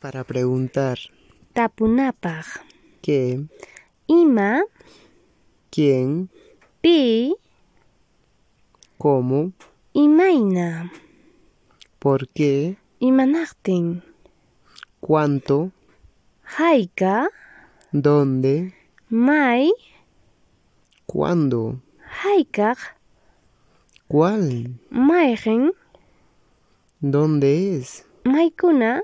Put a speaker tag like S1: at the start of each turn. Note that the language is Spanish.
S1: para preguntar
S2: tapunapaj.
S1: qué,
S2: Ima,
S1: quién,
S2: pi,
S1: cómo,
S2: imaina,
S1: por qué,
S2: imanachtin,
S1: cuánto,
S2: haika,
S1: dónde,
S2: mai,
S1: cuándo,
S2: haikaj,
S1: cuál,
S2: maigen,
S1: dónde es,
S2: maikuna,